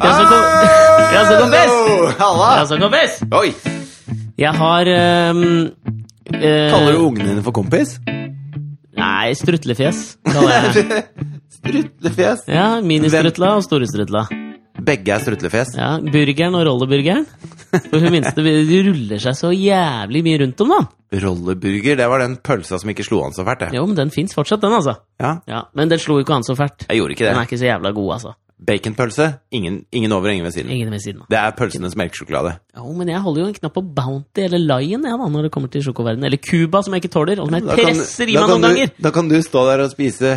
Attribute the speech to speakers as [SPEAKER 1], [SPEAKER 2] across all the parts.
[SPEAKER 1] Ah!
[SPEAKER 2] Halla!
[SPEAKER 1] Altså, kompis!
[SPEAKER 2] Oi!
[SPEAKER 1] Jeg har ehm, eh,
[SPEAKER 2] Kaller du ungene dine for kompis?
[SPEAKER 1] Nei, strutlefjes. kaller jeg det.
[SPEAKER 2] Strutlefjes.
[SPEAKER 1] Ja, Ministrutla og storestrutla.
[SPEAKER 2] Begge er strutlefjes.
[SPEAKER 1] Ja, burgeren og rolleburgeren. For hun minste de ruller seg så jævlig mye rundt om, da.
[SPEAKER 2] Rolleburger, det var den pølsa som ikke slo an så fælt, det.
[SPEAKER 1] Jo, men den fins fortsatt, den, altså.
[SPEAKER 2] Ja,
[SPEAKER 1] Ja, Men den slo jo ikke han så fælt.
[SPEAKER 2] jeg gjorde ikke
[SPEAKER 1] Den er
[SPEAKER 2] det.
[SPEAKER 1] ikke så jævla god, altså.
[SPEAKER 2] Baconpølse, ingen, ingen over, ingen ved siden.
[SPEAKER 1] Ingen ved siden av.
[SPEAKER 2] Det er pølsenes melkesjokolade.
[SPEAKER 1] Jo, men jeg holder jo en knapp på Bounty eller Lion jeg, da, når det kommer til sjokoverden. Eller Cuba, som jeg ikke tåler, og som jeg
[SPEAKER 2] Da kan-
[SPEAKER 1] presser i
[SPEAKER 2] da
[SPEAKER 1] meg
[SPEAKER 2] kan
[SPEAKER 1] noen
[SPEAKER 2] du-
[SPEAKER 1] ganger.
[SPEAKER 2] Da kan du stå der og spise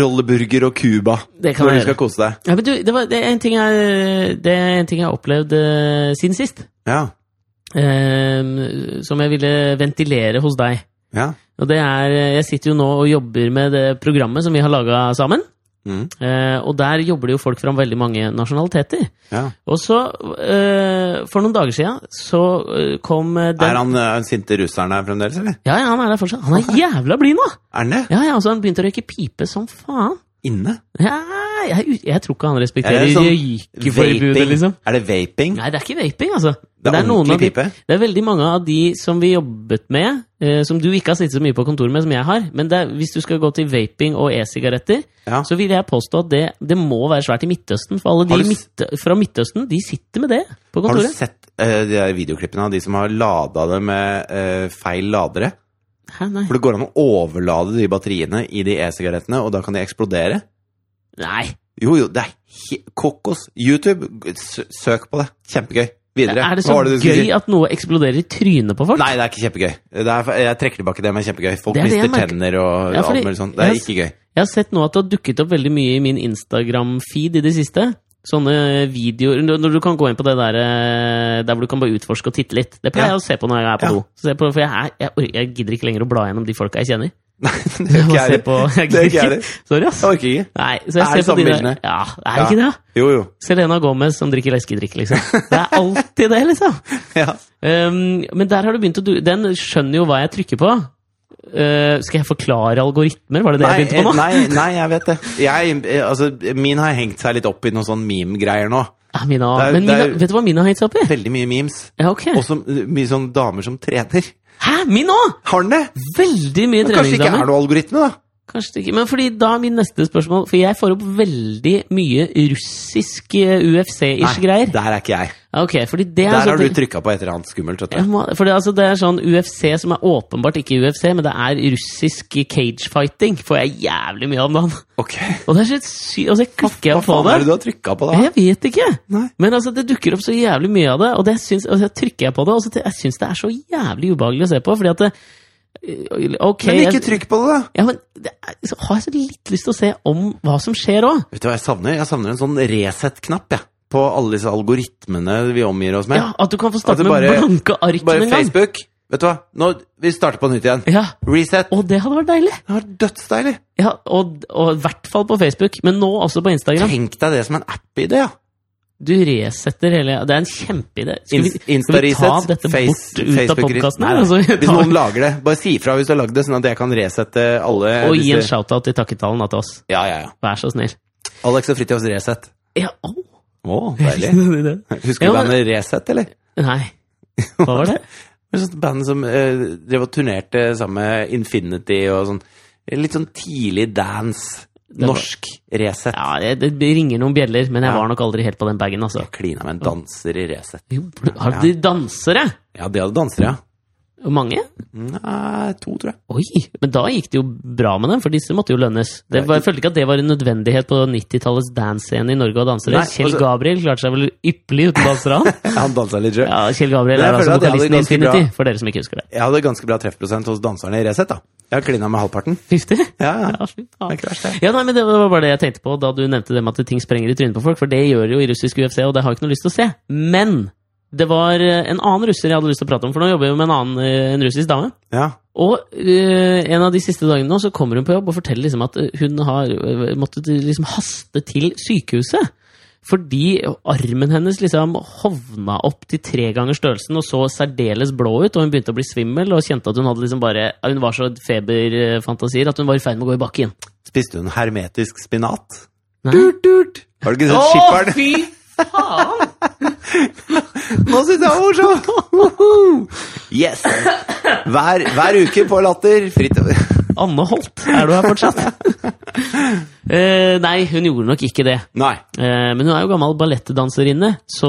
[SPEAKER 2] rolleburger og Cuba
[SPEAKER 1] Det kan
[SPEAKER 2] når du
[SPEAKER 1] jeg
[SPEAKER 2] skal
[SPEAKER 1] gjøre.
[SPEAKER 2] kose deg.
[SPEAKER 1] Ja, men du, det, var, det, er en ting jeg, det er en ting jeg har opplevd eh, siden sist.
[SPEAKER 2] Ja,
[SPEAKER 1] eh, som jeg ville ventilere hos deg.
[SPEAKER 2] ja.
[SPEAKER 1] Og det er, eh, Jeg sitter jo nå og jobber med det programmet som vi har laga sammen.
[SPEAKER 2] Mm,
[SPEAKER 1] eh, og der jobber det jo folk fra veldig mange nasjonaliteter.
[SPEAKER 2] ja.
[SPEAKER 1] Og så, eh, for noen dager sia, så eh, kom eh,
[SPEAKER 2] Er
[SPEAKER 1] den
[SPEAKER 2] han ø, den sinte russeren her fremdeles, eller?
[SPEAKER 1] Ja, ja, han er der fortsatt. Han er jævla blid nå!
[SPEAKER 2] Er han det?
[SPEAKER 1] Ja, ja, altså Han begynte å røyke pipe som faen.
[SPEAKER 2] Inne?
[SPEAKER 1] Ja, jeg, jeg, tror ikke han
[SPEAKER 2] Er
[SPEAKER 1] respekterer
[SPEAKER 2] det sånn
[SPEAKER 1] røykeforbudet, liksom.
[SPEAKER 2] Er det vaping?
[SPEAKER 1] Nei, det er ikke vaping, altså.
[SPEAKER 2] Det er
[SPEAKER 1] Men noen
[SPEAKER 2] ordentlig
[SPEAKER 1] av de-
[SPEAKER 2] pipe?
[SPEAKER 1] Det er veldig mange av de som vi jobbet med, eh, som du ikke har sittet så mye på kontoret med som jeg har, men det er, hvis du skal gå til vaping og e-sigaretter,
[SPEAKER 2] Ja.
[SPEAKER 1] så vil jeg påstå at det, det må være svært i Midtøsten, for alle
[SPEAKER 2] Har
[SPEAKER 1] de
[SPEAKER 2] du s-
[SPEAKER 1] midt, fra Midtøsten, de sitter med det på
[SPEAKER 2] Har du
[SPEAKER 1] kontoret.
[SPEAKER 2] sett ø, de der videoklippene av de som har lada det med ø, feil ladere?
[SPEAKER 1] Hæ, nei.
[SPEAKER 2] For det går an å overlade de batteriene i de e-sigarettene, og da kan de eksplodere.
[SPEAKER 1] nei,
[SPEAKER 2] Jo, jo, det er he kokos. YouTube, s- søk på det. Kjempegøy. Videre.
[SPEAKER 1] er det
[SPEAKER 2] Hva
[SPEAKER 1] så
[SPEAKER 2] var du skulle si?
[SPEAKER 1] gøy at noe eksploderer i trynet på folk?
[SPEAKER 2] Nei, det er ikke kjempegøy. Det er, jeg trekker tilbake det, men kjempegøy. Folk
[SPEAKER 1] Det er det
[SPEAKER 2] mister
[SPEAKER 1] jeg merker.
[SPEAKER 2] tenner og
[SPEAKER 1] Ja, fordi-
[SPEAKER 2] alt mulig sånt. Det
[SPEAKER 1] jeg
[SPEAKER 2] er
[SPEAKER 1] har s-
[SPEAKER 2] ikke gøy.
[SPEAKER 1] Jeg har sett nå at det har dukket opp veldig mye i min Instagram-feed i det siste. Sånne videoer når- Når du kan gå inn på det der eh, der hvor du kan bare utforske og titte litt. Det pleier
[SPEAKER 2] Ja.
[SPEAKER 1] jeg å se på når jeg er på
[SPEAKER 2] Ja.
[SPEAKER 1] do. Så jeg, prøver- for jeg, er, jeg, or- jeg gidder ikke lenger å bla gjennom de folka jeg kjenner.
[SPEAKER 2] Nei,
[SPEAKER 1] Jeg
[SPEAKER 2] det gjør
[SPEAKER 1] må
[SPEAKER 2] ikke
[SPEAKER 1] se
[SPEAKER 2] jeg
[SPEAKER 1] på, jeg
[SPEAKER 2] Det
[SPEAKER 1] gidder
[SPEAKER 2] gjør ikke jeg
[SPEAKER 1] ikke. Sorry, ass.
[SPEAKER 2] Jeg orker ikke.
[SPEAKER 1] Nei, så jeg
[SPEAKER 2] Er det
[SPEAKER 1] ser på de
[SPEAKER 2] samme
[SPEAKER 1] der.
[SPEAKER 2] bildene?
[SPEAKER 1] Ja, er det
[SPEAKER 2] Ja.
[SPEAKER 1] ikke det? da?
[SPEAKER 2] Jo, jo.
[SPEAKER 1] Selena Gomez som drikker leskedrikk, liksom. Det er alltid det, liksom.
[SPEAKER 2] Ja.
[SPEAKER 1] Um, men der har du begynt å du Den skjønner jo hva jeg trykker på. Uh, skal jeg forklare algoritmer? Var det det jeg begynte på nå?
[SPEAKER 2] Nei, nei, jeg vet det. Jeg, eh, altså, min har hengt seg litt opp i noen sånn meme-greier nå.
[SPEAKER 1] Ja, Ah, Mina,
[SPEAKER 2] Det er-
[SPEAKER 1] men
[SPEAKER 2] det er-
[SPEAKER 1] Mina, vet du hva Mina har hengt seg opp i?
[SPEAKER 2] Veldig mye memes.
[SPEAKER 1] Ja, ok.
[SPEAKER 2] Og så mye sånn damer som trener.
[SPEAKER 1] Hæ, min òg!
[SPEAKER 2] Har den det?
[SPEAKER 1] Veldig mye
[SPEAKER 2] Men kanskje ikke er
[SPEAKER 1] treningsdamer.
[SPEAKER 2] noe algoritme, da?
[SPEAKER 1] Kanskje det ikke Men fordi da er min neste spørsmål For jeg får opp veldig mye russisk eh, UFC-ish greier.
[SPEAKER 2] der er ikke jeg.
[SPEAKER 1] Ja, Ok, fordi det er
[SPEAKER 2] Der har
[SPEAKER 1] sånn
[SPEAKER 2] du trykka på et eller annet skummelt. Vet
[SPEAKER 1] Jeg
[SPEAKER 2] du.
[SPEAKER 1] må- fordi altså det er sånn UFC som er åpenbart ikke UFC, men det er russisk cagefighting. Får jeg jævlig mye om dagen.
[SPEAKER 2] Ok.
[SPEAKER 1] Og det er så sykt Og så klikker jeg
[SPEAKER 2] Hva
[SPEAKER 1] på
[SPEAKER 2] faen er det
[SPEAKER 1] det.
[SPEAKER 2] du har trykka på, da?
[SPEAKER 1] Jeg vet ikke!
[SPEAKER 2] Nei.
[SPEAKER 1] Men altså, det dukker opp så jævlig mye av det, og, det syns, og så trykker jeg på det, og så t- jeg syns det er så jævlig ubehagelig å se på, fordi at det, eh, Ok,
[SPEAKER 2] Men
[SPEAKER 1] jeg-
[SPEAKER 2] ikke trykk på det, da!
[SPEAKER 1] Ja, men det er, så har jeg så litt lyst til å se om hva som skjer òg.
[SPEAKER 2] Vet du hva jeg savner? Jeg savner en sånn reset-knapp, jeg. På alle disse algoritmene vi omgir oss med.
[SPEAKER 1] Ja, at du kan få
[SPEAKER 2] At
[SPEAKER 1] starte
[SPEAKER 2] du
[SPEAKER 1] med
[SPEAKER 2] bare-
[SPEAKER 1] blanke ark med
[SPEAKER 2] Bare
[SPEAKER 1] en gang.
[SPEAKER 2] Facebook. Vet du hva? Nå, vi starter på nytt igjen.
[SPEAKER 1] Ja,
[SPEAKER 2] Reset.
[SPEAKER 1] og det hadde vært deilig.
[SPEAKER 2] Det var dødsdeilig.
[SPEAKER 1] Ja, Og, og i hvert fall på Facebook, men nå også på Instagram.
[SPEAKER 2] Tenk deg det som en app-idé, ja.
[SPEAKER 1] Du resetter hele Det er en kjempeidé. Skal, vi-
[SPEAKER 2] Ins-
[SPEAKER 1] skal vi ta
[SPEAKER 2] Insta-reset,
[SPEAKER 1] dette
[SPEAKER 2] face-
[SPEAKER 1] bort ut av
[SPEAKER 2] Facebook-
[SPEAKER 1] podkasten?
[SPEAKER 2] Nei, nei.
[SPEAKER 1] Altså,
[SPEAKER 2] hvis
[SPEAKER 1] ta-
[SPEAKER 2] noen lager det, bare si ifra hvis du har lagd det, sånn at jeg kan resette alle
[SPEAKER 1] og gi en
[SPEAKER 2] disse
[SPEAKER 1] shout-out til takketalen da, til oss.
[SPEAKER 2] Ja, ja, ja.
[SPEAKER 1] Vær så snill.
[SPEAKER 2] Alex og Fritjofs Resett.
[SPEAKER 1] Ja, å,
[SPEAKER 2] Å, deilig. Husker
[SPEAKER 1] Ja,
[SPEAKER 2] du
[SPEAKER 1] men-
[SPEAKER 2] bandet Resett, eller?
[SPEAKER 1] Nei. Hva var det?
[SPEAKER 2] Det var et sånt band som eh, drev og turnerte sammen med Infinity og sånn. Litt sånn tidlig dance.
[SPEAKER 1] var-
[SPEAKER 2] Norsk Resett.
[SPEAKER 1] Ja, det, det ringer noen bjeller, men jeg
[SPEAKER 2] Ja.
[SPEAKER 1] var nok aldri helt på den bagen, altså.
[SPEAKER 2] Jeg klina med en danser i Resett.
[SPEAKER 1] Jo, Har du dansere?
[SPEAKER 2] Ja, de hadde dansere, ja. Mm,
[SPEAKER 1] Mange?
[SPEAKER 2] Nei, to, tror jeg.
[SPEAKER 1] Oi, men da gikk det jo bra med dem, for disse måtte jo lønnes. Det var, jeg følte ikke at det var en nødvendighet på 90-tallets dance-scene i Norge å danse.
[SPEAKER 2] Nei,
[SPEAKER 1] Kjell
[SPEAKER 2] altså-
[SPEAKER 1] Gabriel klarte seg vel ypperlig uten dansere, han.
[SPEAKER 2] Han dansa litt sjøl.
[SPEAKER 1] Ja, Kjell Gabriel
[SPEAKER 2] Men jeg
[SPEAKER 1] er altså
[SPEAKER 2] føler at jeg hadde
[SPEAKER 1] vokalisten i
[SPEAKER 2] ganske
[SPEAKER 1] Infinity,
[SPEAKER 2] bra-
[SPEAKER 1] for dere som ikke husker det.
[SPEAKER 2] Jeg hadde ganske bra treffprosent hos danserne i Resett, da. Jeg har klina med halvparten.
[SPEAKER 1] 50?
[SPEAKER 2] Ja, ja.
[SPEAKER 1] Ja, slutt,
[SPEAKER 2] Det er ikke verst, det.
[SPEAKER 1] Ja, nei, men Det var bare det jeg tenkte på da du nevnte det med at ting sprenger i trynet på folk. For det gjør det jo i russisk UFC, og det har jeg ikke noe lyst til å se. Men det var eh, en annen russer jeg hadde lyst til å prate om, for nå jobber jeg jo med en annen eh, en russisk dame.
[SPEAKER 2] Ja.
[SPEAKER 1] Og eh, en av de siste dagene nå så kommer hun på jobb og forteller liksom at eh, hun har eh, måttet liksom haste til sykehuset. Fordi armen hennes liksom hovna opp til tre ganger størrelsen og så særdeles blå ut. Og hun begynte å bli svimmel og kjente at hun hadde liksom bare Hun var så feberfantasier at hun var i ferd med å gå i bakken.
[SPEAKER 2] Spiste hun hermetisk spinat?
[SPEAKER 1] Nei.
[SPEAKER 2] Durt, durt! Har du ikke sett skipperen?
[SPEAKER 1] fy faen!
[SPEAKER 2] Nå syns jeg det var morsomt! Woohoo! Yes! Hver, hver uke på Latter. Fritt
[SPEAKER 1] Anne Holt, er du her fortsatt? Eh, nei, hun gjorde nok ikke det.
[SPEAKER 2] Nei.
[SPEAKER 1] Eh, men hun er jo gammel ballettdanserinne, så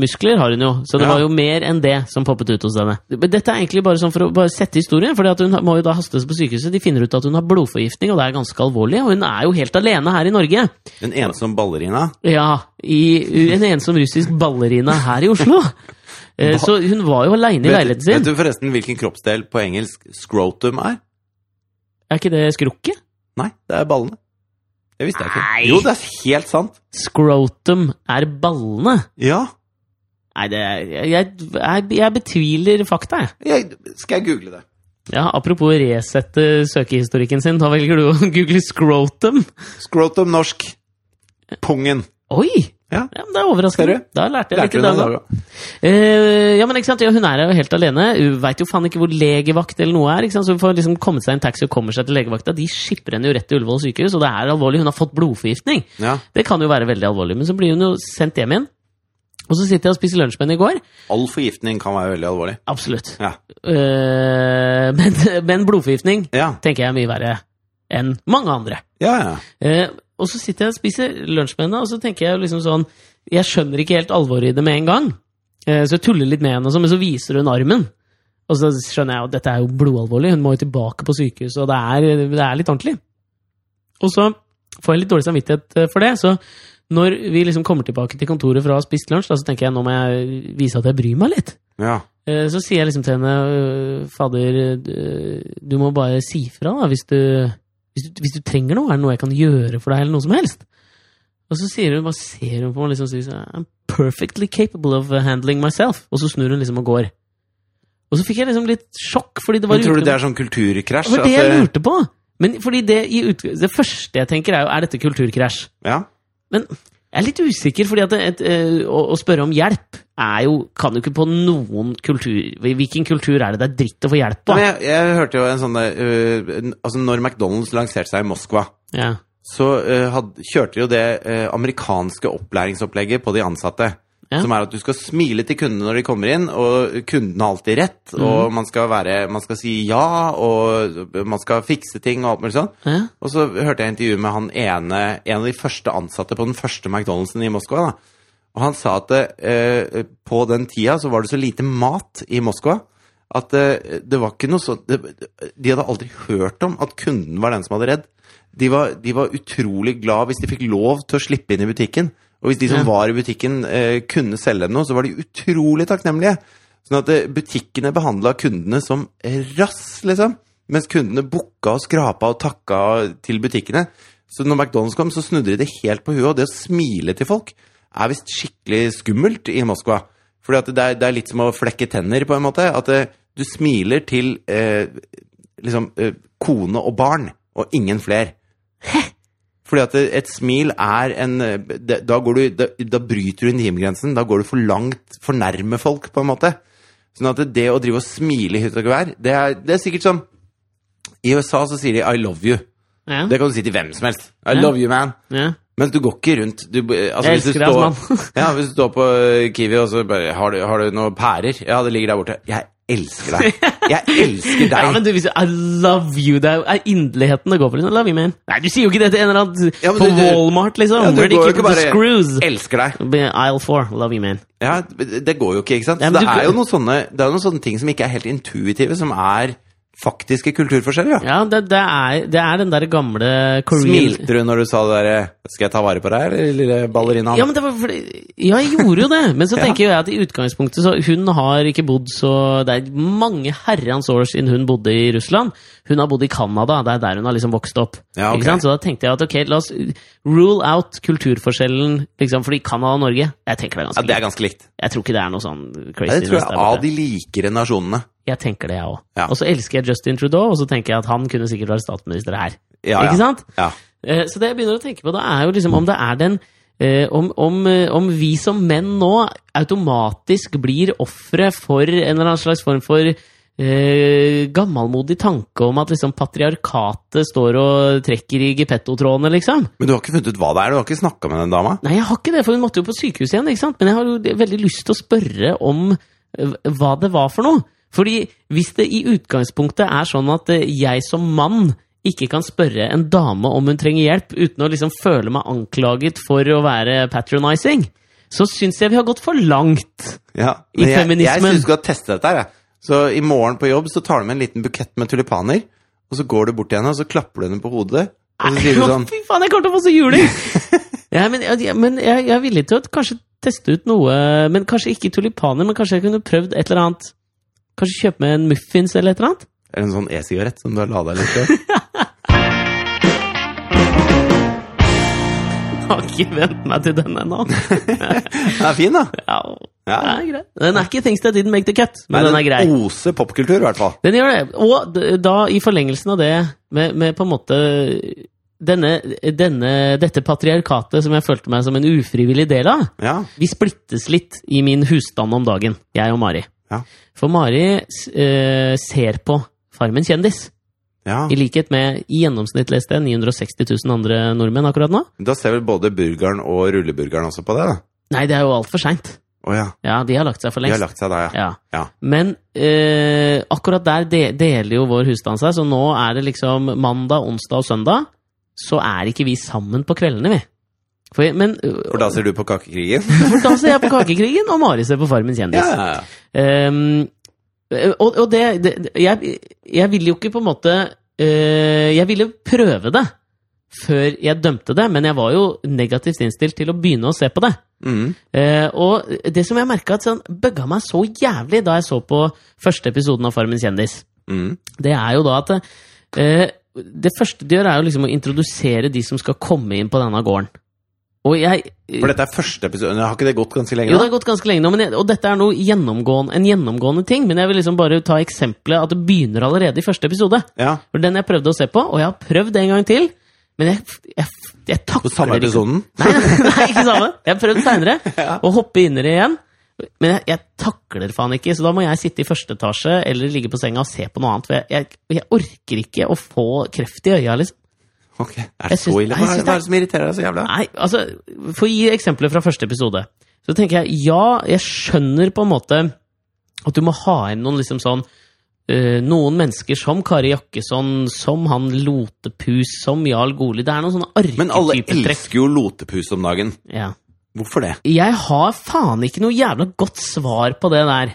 [SPEAKER 1] muskler har hun jo. Så det
[SPEAKER 2] Ja.
[SPEAKER 1] var jo mer enn det som poppet ut hos henne. Men Dette er egentlig bare sånn for å bare sette historien, for hun må jo da hastes på sykehuset. De finner ut at hun har blodforgiftning, og det er ganske alvorlig. Og hun er jo helt alene her i Norge.
[SPEAKER 2] Den ensomme ballerina.
[SPEAKER 1] Ja, i en ensom russisk ballerina her i Oslo. Eh, så hun var jo aleine i
[SPEAKER 2] Vet,
[SPEAKER 1] leiligheten
[SPEAKER 2] vet
[SPEAKER 1] sin.
[SPEAKER 2] du forresten hvilken kroppsdel på engelsk scrotum er?
[SPEAKER 1] Er ikke det skrukket?
[SPEAKER 2] Nei, det er ballene. Det visste jeg ikke.
[SPEAKER 1] Nei.
[SPEAKER 2] Jo, det er helt sant.
[SPEAKER 1] Scrotum er ballene.
[SPEAKER 2] Ja.
[SPEAKER 1] Nei, det er, jeg, jeg, jeg betviler fakta, jeg.
[SPEAKER 2] Jeg, skal jeg google det?
[SPEAKER 1] Ja, apropos resette søkehistorikken sin, da velger du å google scrotum.
[SPEAKER 2] Scrotum norsk. Pungen.
[SPEAKER 1] Oi!
[SPEAKER 2] Ja.
[SPEAKER 1] men det er overraskende.
[SPEAKER 2] Ser du?
[SPEAKER 1] Da lærte jeg
[SPEAKER 2] Lærte
[SPEAKER 1] litt i
[SPEAKER 2] du det
[SPEAKER 1] dag også.
[SPEAKER 2] i dag òg?
[SPEAKER 1] Eh, ja, men ikke sant? Ja, hun er jo helt alene. Hun veit jo faen ikke hvor legevakt eller noe er. Ikke sant? Så hun får liksom kommet seg i en taxi og kommer seg til legevakta. De skipper henne jo rett til Ullevål sykehus, og det er alvorlig. Hun har fått blodforgiftning.
[SPEAKER 2] Ja.
[SPEAKER 1] Det kan jo være veldig alvorlig. Men så blir hun jo sendt hjem igjen. Og så sitter jeg og spiser lunsj med henne i går.
[SPEAKER 2] All forgiftning kan være veldig alvorlig.
[SPEAKER 1] Absolutt.
[SPEAKER 2] Ja.
[SPEAKER 1] Eh, men, men blodforgiftning
[SPEAKER 2] Ja,
[SPEAKER 1] tenker jeg er mye verre enn mange andre.
[SPEAKER 2] ja. ja.
[SPEAKER 1] Eh, og så sitter jeg og spiser lunsj med henne, og så tenker jeg jo liksom sånn Jeg skjønner ikke helt alvoret i det med en gang. Eh, så jeg tuller litt med henne, og sånn, men så viser hun armen. Og så skjønner jeg jo at dette er jo blodalvorlig, hun må jo tilbake på sykehuset, og det er, det er litt ordentlig. Og så får jeg litt dårlig samvittighet eh, for det, så når vi liksom kommer tilbake til kontoret fra å ha spist lunsj, da, så tenker jeg nå må jeg vise at jeg bryr meg litt.
[SPEAKER 2] ja.
[SPEAKER 1] Eh, Så sier jeg liksom til henne øh, Fader, øh, du må bare si fra da, hvis du, hvis, du, hvis du trenger noe. Er det noe jeg kan gjøre for deg, eller noe som helst? Og så sier hun, bare ser hun på meg liksom, og sier sånn, I'm perfectly capable of handling myself. Og så snur hun liksom og går. Og så fikk jeg liksom litt sjokk, fordi det var
[SPEAKER 2] Men tror
[SPEAKER 1] utenom-
[SPEAKER 2] du det er sånn kulturkrasj?
[SPEAKER 1] Det var det
[SPEAKER 2] at øh,
[SPEAKER 1] jeg
[SPEAKER 2] det-
[SPEAKER 1] lurte på! Men fordi det, i utg- det første jeg tenker, er jo er dette kulturkrasj?
[SPEAKER 2] eh, Ja.
[SPEAKER 1] Men jeg er litt usikker, fordi at et, eh, å, å spørre om hjelp er jo, kan jo ikke på noen kultur Hvilken kultur er det det er dritt å få hjelp
[SPEAKER 2] Men
[SPEAKER 1] av?
[SPEAKER 2] jeg, jeg hørte jo en sånn der øh, n- Altså, når McDonald's lanserte seg i Moskva,
[SPEAKER 1] Ja.
[SPEAKER 2] så øh, had, kjørte jo det øh, amerikanske opplæringsopplegget på de ansatte.
[SPEAKER 1] Ja.
[SPEAKER 2] Som er at du skal smile til kundene når de kommer inn, og kunden har alltid rett.
[SPEAKER 1] Mhm.
[SPEAKER 2] Og man skal, være, man skal si ja, og man skal fikse ting og alt mulig sånn.
[SPEAKER 1] Ja.
[SPEAKER 2] Og så hørte jeg intervju med han ene, en av de første ansatte på den første McDonald'sen i Moskva. Da. Og han sa at eh, på den tida så var det så lite mat i Moskva at eh, det var ikke noe sånn det- De hadde aldri hørt om at kunden var den som hadde redd. De var, de var utrolig glad hvis de fikk lov til å slippe inn i butikken. Og hvis de som
[SPEAKER 1] Ja.
[SPEAKER 2] var i butikken eh, kunne selge dem noe, så var de utrolig takknemlige. Sånn at eh, butikkene behandla kundene som rass, liksom. Mens kundene bukka og skrapa og takka til butikkene. Så når McDonald's kom, så snudde de det helt på huet. Og det å smile til folk er visst skikkelig skummelt i Moskva. Fordi at det er, det er litt som å flekke tenner, på en måte. At eh, du smiler til eh, liksom eh, kone og barn, og ingen fler. Fordi at det- et smil er en eh, det, da, går du, da, da bryter du intimgrensen. Da går du for langt, for nærme folk, på en måte. Sånn at det å drive og smile i hytt og gevær, det er, det er sikkert som I USA så sier de 'I love you'.
[SPEAKER 1] Ja.
[SPEAKER 2] Det kan du si til hvem som helst. I
[SPEAKER 1] Ja.
[SPEAKER 2] love you, man.
[SPEAKER 1] ja.
[SPEAKER 2] Men du går ikke rundt du, altså,
[SPEAKER 1] Jeg
[SPEAKER 2] hvis du
[SPEAKER 1] elsker deg,
[SPEAKER 2] står-
[SPEAKER 1] ass, mann.
[SPEAKER 2] ja, hvis du står på eh, Kiwi og så bare har du, 'Har du noen pærer?' Ja, det ligger der borte. Jeg elsker deg. Jeg elsker deg.
[SPEAKER 1] ja, men du viser I love you. Det er jo- er inderligheten det går på. Liksom. I love you, man. Nei, du sier jo ikke det til en eller annen
[SPEAKER 2] Ja, men
[SPEAKER 1] på
[SPEAKER 2] du- du-
[SPEAKER 1] Walmart, liksom.
[SPEAKER 2] Ja, du
[SPEAKER 1] Where they
[SPEAKER 2] går jo
[SPEAKER 1] keep
[SPEAKER 2] ikke
[SPEAKER 1] the
[SPEAKER 2] bare-
[SPEAKER 1] screws.
[SPEAKER 2] elsker deg.
[SPEAKER 1] Isle 4, love you, man.
[SPEAKER 2] Ja, det går jo ikke, ikke sant?
[SPEAKER 1] Ja,
[SPEAKER 2] Så
[SPEAKER 1] men
[SPEAKER 2] det
[SPEAKER 1] du-
[SPEAKER 2] er jo noen sånne, det er noen sånne ting som ikke er helt intuitive, som er faktiske kulturforskjeller, ja.
[SPEAKER 1] Ja, det, det, er, det er den der gamle Korean
[SPEAKER 2] Smilte du når du sa det derre 'skal jeg ta vare på deg', eller lille ballerina?
[SPEAKER 1] Ja, men det var fordi, ja, jeg gjorde jo det, men så
[SPEAKER 2] Ja.
[SPEAKER 1] tenker jo jeg at i utgangspunktet så Hun har ikke bodd så Det er mange herrens år siden hun bodde i Russland. Hun har bodd i Canada, det er der hun har liksom vokst opp.
[SPEAKER 2] Ja, ok.
[SPEAKER 1] ikke sant? Så da tenkte jeg at ok, la oss rule out kulturforskjellen, liksom, fordi Canada og Norge Jeg tenker det er ganske
[SPEAKER 2] Ja, det
[SPEAKER 1] likt.
[SPEAKER 2] er ganske likt.
[SPEAKER 1] Jeg tror ikke det er noe sånn
[SPEAKER 2] Ja,
[SPEAKER 1] crazy.
[SPEAKER 2] det tror jeg av de likere nasjonene.
[SPEAKER 1] Jeg tenker det, jeg òg.
[SPEAKER 2] Ja.
[SPEAKER 1] Og så elsker jeg Justin Trudeau, og så tenker jeg at han kunne sikkert vært statsminister her.
[SPEAKER 2] Ja, ja.
[SPEAKER 1] Ikke sant?
[SPEAKER 2] Ja.
[SPEAKER 1] Eh, Så det jeg begynner å tenke på da, er jo liksom om det er den eh, om, om, eh, om vi som menn nå automatisk blir ofre for en eller annen slags form for eh, eh, gammelmodig tanke om at liksom patriarkatet står og trekker i gepettotrådene, liksom.
[SPEAKER 2] Men du har ikke funnet ut hva det er? Du har ikke snakka med den dama?
[SPEAKER 1] Nei, jeg har ikke det, for hun måtte jo på sykehus igjen, ikke sant? Men jeg har jo veldig lyst til å spørre om eh, hva det var for noe. Fordi hvis det i utgangspunktet er sånn at eh, jeg som mann ikke kan spørre en dame om hun trenger hjelp, uten å liksom føle meg anklaget for å være patronizing, så syns jeg vi har gått for langt.
[SPEAKER 2] Ja.
[SPEAKER 1] I
[SPEAKER 2] Men jeg, jeg
[SPEAKER 1] feminismen.
[SPEAKER 2] syns du skal teste dette her, jeg. Så i morgen på jobb så tar du med en liten bukett med tulipaner, og så går du bort til henne, og så klapper du henne på hodet, og så sier du sånn
[SPEAKER 1] Fy faen, jeg kommer til å få så juling! ja, men jeg, men jeg, jeg er villig til å kanskje teste ut noe Men kanskje ikke tulipaner, men kanskje jeg kunne prøvd et eller annet Kanskje kjøpe meg en muffins eller et eller annet?
[SPEAKER 2] Er det en sånn e-sigarett som du har lada litt før?
[SPEAKER 1] Jeg har ikke vent meg til den ennå.
[SPEAKER 2] Den er fin, da.
[SPEAKER 1] Ja,
[SPEAKER 2] Ja. oh.
[SPEAKER 1] det er greit. Den er ikke Things That Didn't Make The Cut, men den er grei.
[SPEAKER 2] oser popkultur, i hvert fall.
[SPEAKER 1] Den gjør det. Og d- da, i forlengelsen av det, med, med på en måte denne, denne, dette patriarkatet som jeg følte meg som en ufrivillig del av,
[SPEAKER 2] Ja.
[SPEAKER 1] Vi splittes litt i min husstand om dagen, jeg og Mari.
[SPEAKER 2] Ja.
[SPEAKER 1] For Mari s- eh, ser på Farmen kjendis,
[SPEAKER 2] ja.
[SPEAKER 1] i likhet med i gjennomsnitt leste jeg 960 000 andre nordmenn akkurat nå.
[SPEAKER 2] Da ser vel både burgeren og rulleburgeren også på det, da.
[SPEAKER 1] Nei, det er jo altfor seint.
[SPEAKER 2] Å ja.
[SPEAKER 1] Ja, de har lagt seg for
[SPEAKER 2] De har
[SPEAKER 1] lengst.
[SPEAKER 2] lagt seg der, ja.
[SPEAKER 1] Ja.
[SPEAKER 2] Ja.
[SPEAKER 1] Men eh, akkurat der de, deler jo vår husstand seg, så nå er det liksom mandag, onsdag og søndag. Så er ikke vi sammen på kveldene, vi. For, men,
[SPEAKER 2] For da ser du på Kakekrigen?
[SPEAKER 1] for da ser jeg på Kakekrigen, og Mari ser på Farmen kjendis.
[SPEAKER 2] ja.
[SPEAKER 1] Ehm, og, og det, det det- jeg, jeg ville jo ikke på en måte eh, Jeg ville prøve det før jeg dømte det, men jeg var jo negativt innstilt til å begynne å se på det.
[SPEAKER 2] Mm.
[SPEAKER 1] Eh, og det som jeg merka sånn, bugga meg så jævlig da jeg så på første episoden av Farmen kjendis,
[SPEAKER 2] Mm.
[SPEAKER 1] det er jo da at eh, Det første de gjør, er jo liksom å introdusere de som skal komme inn på denne gården. Og jeg
[SPEAKER 2] For dette er første episode. Har ikke det gått ganske lenge?
[SPEAKER 1] jo,
[SPEAKER 2] da?
[SPEAKER 1] det har gått ganske lenge nå, men jeg, og dette er noe gjennomgående, en gjennomgående ting. Men jeg vil liksom bare ta eksempelet at det begynner allerede i første episode.
[SPEAKER 2] Ja,
[SPEAKER 1] For den jeg prøvde å se på, og jeg har prøvd en gang til, men jeg, jeg, jeg
[SPEAKER 2] På
[SPEAKER 1] takler
[SPEAKER 2] samme
[SPEAKER 1] ikke-
[SPEAKER 2] episoden?
[SPEAKER 1] Nei, nei, ikke samme. Jeg har prøvd seinere å hoppe inn i det igjen. Men jeg, jeg takler faen ikke, så da må jeg sitte i første etasje eller ligge på senga og se på noe annet. For jeg, jeg, jeg orker ikke å få kreft i øya, liksom.
[SPEAKER 2] Ok, er
[SPEAKER 1] Jeg
[SPEAKER 2] det
[SPEAKER 1] syns-
[SPEAKER 2] så ille?
[SPEAKER 1] Nei, jeg
[SPEAKER 2] Hva
[SPEAKER 1] syns
[SPEAKER 2] er hva er
[SPEAKER 1] det-
[SPEAKER 2] det som irriterer deg så jævla?
[SPEAKER 1] Nei, altså, for å gi eksempler fra første episode, så tenker jeg, ja, jeg skjønner på en måte at du må ha inn noen liksom sånn eh, noen mennesker som Kari Jakkesson, som han Lotepus, som Jarl Goli. Det er noen sånne
[SPEAKER 2] Men alle
[SPEAKER 1] arketypetrekk.
[SPEAKER 2] elsker jo lotepus om dagen.
[SPEAKER 1] Ja.
[SPEAKER 2] Hvorfor det?
[SPEAKER 1] Jeg har faen ikke noe jævla godt svar på det der.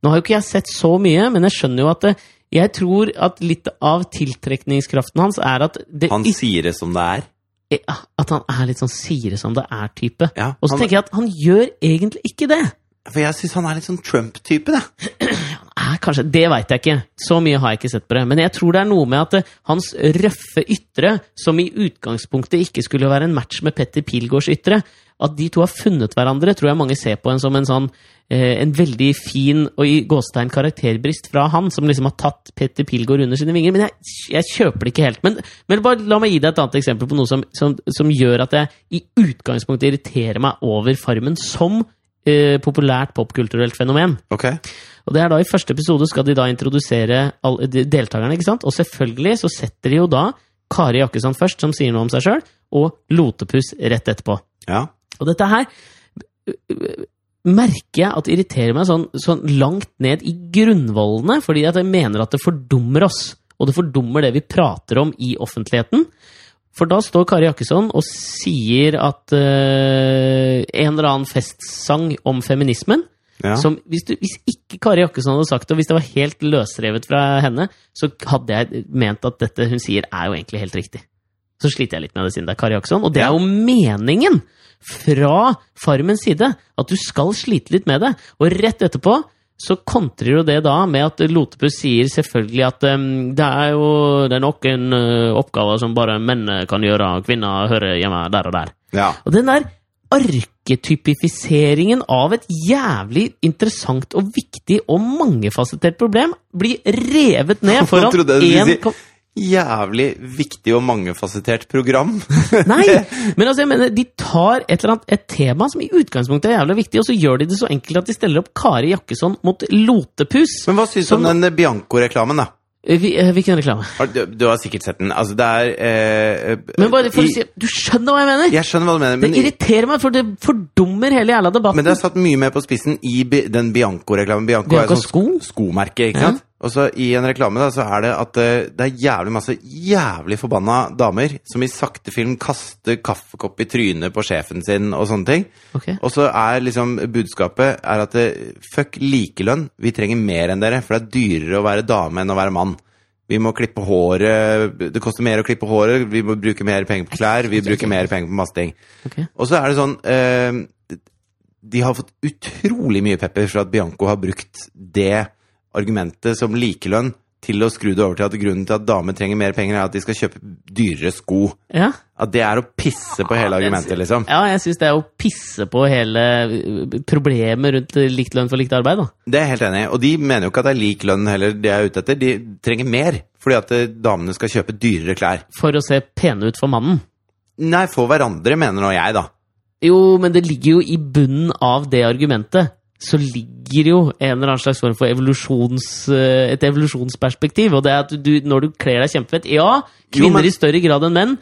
[SPEAKER 1] Nå har jo ikke jeg sett så mye, men jeg skjønner jo at det, jeg tror at litt av tiltrekningskraften hans er at det
[SPEAKER 2] Han sier det som det er.
[SPEAKER 1] ikke, At han er litt sånn sier det som det er-type.
[SPEAKER 2] Ja,
[SPEAKER 1] Og så
[SPEAKER 2] han,
[SPEAKER 1] tenker jeg at han gjør egentlig ikke det.
[SPEAKER 2] for jeg syns han er litt sånn Trump-type, det.
[SPEAKER 1] Eh, kanskje, Det veit jeg ikke. Så mye har jeg ikke sett på det. Men jeg tror det er noe med at eh, hans røffe ytre, som i utgangspunktet ikke skulle være en match med Petter Pilgaards ytre, at de to har funnet hverandre, tror jeg mange ser på en som en sånn eh, en veldig fin og i gåstein karakterbrist fra han, som liksom har tatt Petter Pilgaard under sine vinger. Men jeg, jeg kjøper det ikke helt. Men, men bare la meg gi deg et annet eksempel på noe som, som, som gjør at jeg i utgangspunktet irriterer meg over Farmen som eh, populært popkulturelt fenomen.
[SPEAKER 2] Ok,
[SPEAKER 1] Og det er da I første episode skal de da introdusere alle de- deltakerne. ikke sant? Og selvfølgelig så setter de jo da Kari Jakkesson først, som sier noe om seg sjøl, og Lotepus rett etterpå.
[SPEAKER 2] ja.
[SPEAKER 1] Og dette her ø, ø, merker jeg at det irriterer meg sånn, sånn langt ned i grunnvollene, fordi at jeg mener at det fordummer oss. Og det fordummer det vi prater om i offentligheten. For da står Kari Jakkesson og sier at ø, en eller annen festsang om feminismen
[SPEAKER 2] ja.
[SPEAKER 1] som, hvis, du, hvis ikke Kari Jakkesson hadde sagt det, og hvis det var helt løsrevet fra henne, så hadde jeg ment at dette hun sier, er jo egentlig helt riktig. Så sliter jeg litt med det siden det er Kari Jakkesson. Og det er jo meningen fra Farmens side, at du skal slite litt med det. Og rett etterpå så kontrer jo det da med at Lotepus sier selvfølgelig at ehm, det er jo det er noen eh, oppgaver som bare menn eh, kan gjøre, og kvinner hører hjemme der og der.
[SPEAKER 2] ja.
[SPEAKER 1] Og den der arketypifiseringen av et jævlig interessant og viktig og mangefasettert problem blir revet ned
[SPEAKER 2] Jeg
[SPEAKER 1] foran
[SPEAKER 2] trodde du
[SPEAKER 1] én
[SPEAKER 2] skulle si,
[SPEAKER 1] kom-
[SPEAKER 2] jævlig viktig og mangefasettert program.
[SPEAKER 1] Nei! Men altså, jeg mener, de tar et eller annet et tema som i utgangspunktet er jævlig viktig, og så gjør de det så enkelt at de steller opp Kari Jakkesson mot Lotepus.
[SPEAKER 2] Men hva syns du om den eh, Bianco-reklamen, da?
[SPEAKER 1] Eh, vi- eh, Hvilken reklame?
[SPEAKER 2] Har- Du, du har sikkert sett den. Altså, det er eh, eh,
[SPEAKER 1] Men bare for
[SPEAKER 2] i-
[SPEAKER 1] å si Du skjønner hva jeg mener?
[SPEAKER 2] Jeg skjønner hva du mener,
[SPEAKER 1] det
[SPEAKER 2] men,
[SPEAKER 1] irriterer meg, for det fordummer hele jævla debatten.
[SPEAKER 2] men det er satt mye mer på spissen i bi, den Bianco-reklamen. Bianco, er
[SPEAKER 1] Bianco
[SPEAKER 2] et sånt
[SPEAKER 1] sko?
[SPEAKER 2] skomerke, ikke
[SPEAKER 1] Ja.
[SPEAKER 2] sant? Og så i en reklame da, så er det at eh, det er jævlig masse jævlig forbanna damer som i sakte film kaster kaffekopp i trynet på sjefen sin og sånne ting.
[SPEAKER 1] Ok.
[SPEAKER 2] Og så er liksom budskapet er at eh, fuck likelønn, vi trenger mer enn dere, for det er dyrere å være dame enn å være mann. Vi må klippe håret, det koster mer å klippe håret, vi må bruke mer penger på klær, vi bruker mer penger på masse ting.
[SPEAKER 1] ok.
[SPEAKER 2] Og så er det sånn eh, De har fått utrolig mye pepper for at Bianco har brukt det argumentet som likelønn til å skru det over til at grunnen til at damer trenger mer penger, er at de skal kjøpe dyrere sko.
[SPEAKER 1] Ja.
[SPEAKER 2] At det er å pisse på hele
[SPEAKER 1] Ja, det
[SPEAKER 2] argumentet, liksom.
[SPEAKER 1] ja, jeg syns det er å pisse på hele eh, problemet rundt eh, likt lønn for likt arbeid, da.
[SPEAKER 2] Det er jeg helt enig i. Og de mener jo ikke at det er lik lønn heller, de er ute etter. De trenger mer, fordi at eh, damene skal kjøpe dyrere klær.
[SPEAKER 1] For å se pene ut for mannen.
[SPEAKER 2] Nei, for hverandre, mener nå jeg, da.
[SPEAKER 1] Jo, men det ligger jo i bunnen av det argumentet. Så ligger jo en eller annen slags form for evolusjons, eh, et evolusjonsperspektiv. Og det er at du, når du kler deg kjempefett Ja,
[SPEAKER 2] Jo,
[SPEAKER 1] kvinner
[SPEAKER 2] men-
[SPEAKER 1] i større grad enn menn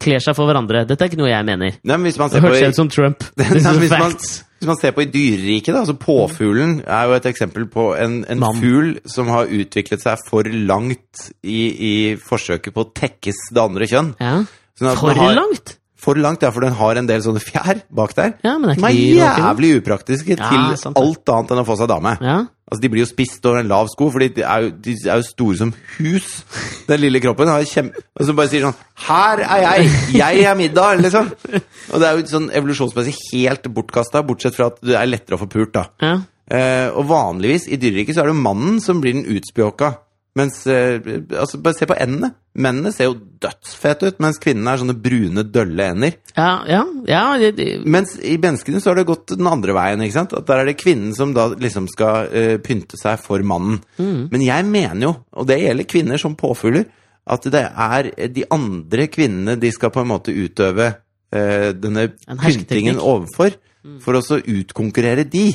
[SPEAKER 1] kler seg for hverandre. Dette er ikke noe jeg mener.
[SPEAKER 2] Nei, men hvis man
[SPEAKER 1] Det
[SPEAKER 2] ser på
[SPEAKER 1] hørtes ut som Trump. This
[SPEAKER 2] Nei,
[SPEAKER 1] is
[SPEAKER 2] hvis, man,
[SPEAKER 1] facts.
[SPEAKER 2] hvis man ser på i dyreriket, da, altså påfuglen er jo et eksempel på en, en
[SPEAKER 1] Mann.
[SPEAKER 2] fugl som har utviklet seg for langt i, i forsøket på å tekkes det andre kjønn.
[SPEAKER 1] Ja.
[SPEAKER 2] Sånn at den
[SPEAKER 1] For
[SPEAKER 2] har,
[SPEAKER 1] langt!
[SPEAKER 2] For langt, ja, for den har en del sånne fjær bak der.
[SPEAKER 1] Ja, men det er ikke
[SPEAKER 2] De er
[SPEAKER 1] de råkene.
[SPEAKER 2] jævlig upraktiske
[SPEAKER 1] Ja,
[SPEAKER 2] til
[SPEAKER 1] sant det.
[SPEAKER 2] alt annet enn å få seg dame.
[SPEAKER 1] Ja.
[SPEAKER 2] Altså, De blir jo spist over en lav sko, Fordi de er jo, de er jo store som hus. Den lille kroppen har kjempe... Og så bare sier sånn 'Her er jeg! Jeg er middag!' liksom. Og det er jo sånn evolusjonsmessig helt bortkasta, bortsett fra at det er lettere å få pult, da.
[SPEAKER 1] ja.
[SPEAKER 2] Eh, og vanligvis i dyreriket så er det jo mannen som blir den utspjåka. Mens eh, altså Bare se på endene. Mennene ser jo dødsfete ut, mens kvinnene er sånne brune, dølle ender.
[SPEAKER 1] Ja, ja, ja det, det,
[SPEAKER 2] Mens i menneskene så har det gått den andre veien. ikke sant? At Der er det kvinnen som da liksom skal eh, pynte seg for mannen.
[SPEAKER 1] Mm.
[SPEAKER 2] Men jeg mener jo, og det gjelder kvinner som påfugler, at det er de andre kvinnene de skal på en måte utøve eh, denne
[SPEAKER 1] En hersketeknikk. Mm.
[SPEAKER 2] pyntingen overfor, for også å utkonkurrere de.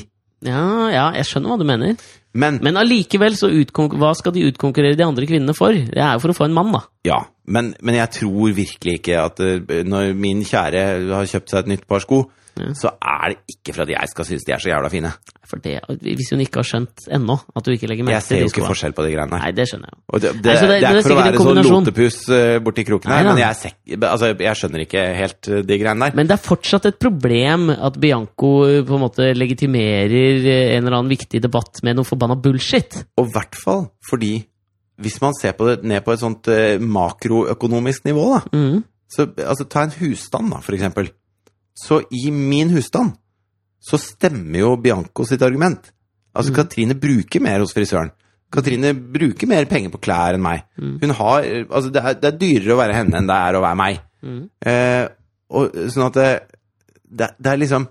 [SPEAKER 1] ja, ja, jeg skjønner hva du mener.
[SPEAKER 2] Men,
[SPEAKER 1] Men allikevel, så utkonk- hva skal de utkonkurrere de andre kvinnene for? Det er jo for å få en mann, da.
[SPEAKER 2] ja, men, men jeg tror virkelig ikke at eh, når min kjære har kjøpt seg et nytt par sko, så er det ikke for at jeg skal synes de er så jævla fine.
[SPEAKER 1] For det, hvis hun ikke har skjønt ennå at du ikke legger merke
[SPEAKER 2] Jeg ser
[SPEAKER 1] til
[SPEAKER 2] jo
[SPEAKER 1] de
[SPEAKER 2] ikke
[SPEAKER 1] skoene.
[SPEAKER 2] forskjell på de greiene.
[SPEAKER 1] Nei, det skjønner jeg jo.
[SPEAKER 2] Og det,
[SPEAKER 1] Nei, så
[SPEAKER 2] det,
[SPEAKER 1] det-
[SPEAKER 2] det,
[SPEAKER 1] det er
[SPEAKER 2] er ikke for å
[SPEAKER 1] sikkert en
[SPEAKER 2] være så
[SPEAKER 1] kombinasjon.
[SPEAKER 2] lotepus eh, borti kroken her,
[SPEAKER 1] Nei,
[SPEAKER 2] men
[SPEAKER 1] nei.
[SPEAKER 2] jeg, er sek- altså, jeg skjønner ikke helt eh, de greiene der.
[SPEAKER 1] Men det er fortsatt et problem at Bianco eh, på en måte legitimerer eh, en eller annen viktig debatt med noe forbanna bullshit.
[SPEAKER 2] Og i hvert fall fordi hvis man ser på det ned på et sånt eh, makroøkonomisk nivå, da,
[SPEAKER 1] Mhm.
[SPEAKER 2] så altså, ta en husstand, da, for eksempel. Så i min husstand så stemmer jo Bianco sitt argument.
[SPEAKER 1] Mm.
[SPEAKER 2] Altså, Katrine bruker mer hos frisøren. Katrine bruker mer penger på klær enn meg.
[SPEAKER 1] Mm.
[SPEAKER 2] Hun har, eh, altså, det, er, det er dyrere å være henne enn det er å være meg.
[SPEAKER 1] Mhm.
[SPEAKER 2] Eh, og, sånn at det, det, det er liksom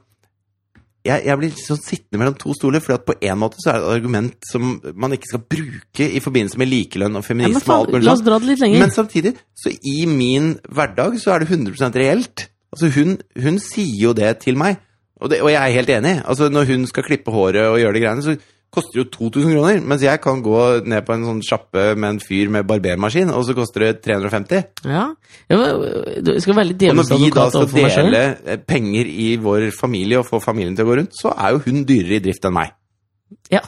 [SPEAKER 2] jeg, jeg blir sånn sittende mellom to stoler, Fordi at på en måte så er det et argument som man ikke skal bruke i forbindelse med likelønn og
[SPEAKER 1] Ja, men
[SPEAKER 2] feminisme. og alt
[SPEAKER 1] faen,
[SPEAKER 2] mulig
[SPEAKER 1] la
[SPEAKER 2] sånt.
[SPEAKER 1] oss dra det litt lenger.
[SPEAKER 2] Men samtidig, så i min hverdag så er det 100 reelt. Altså hun, hun sier jo det til meg, og, det, og jeg er helt enig. Altså Når hun skal klippe håret og gjøre de greiene, så koster det jo 2000 kroner. Mens jeg kan gå ned på en sånn sjappe med en fyr med barbermaskin, og så koster det 350.
[SPEAKER 1] Ja. Ja, men, Du skal være litt
[SPEAKER 2] Og når vi da
[SPEAKER 1] djevelsadvokat
[SPEAKER 2] skal
[SPEAKER 1] overfor meg sjøl.
[SPEAKER 2] dele eh, penger i vår familie og få familien til å gå rundt, så er jo hun dyrere i drift enn meg.
[SPEAKER 1] Ja.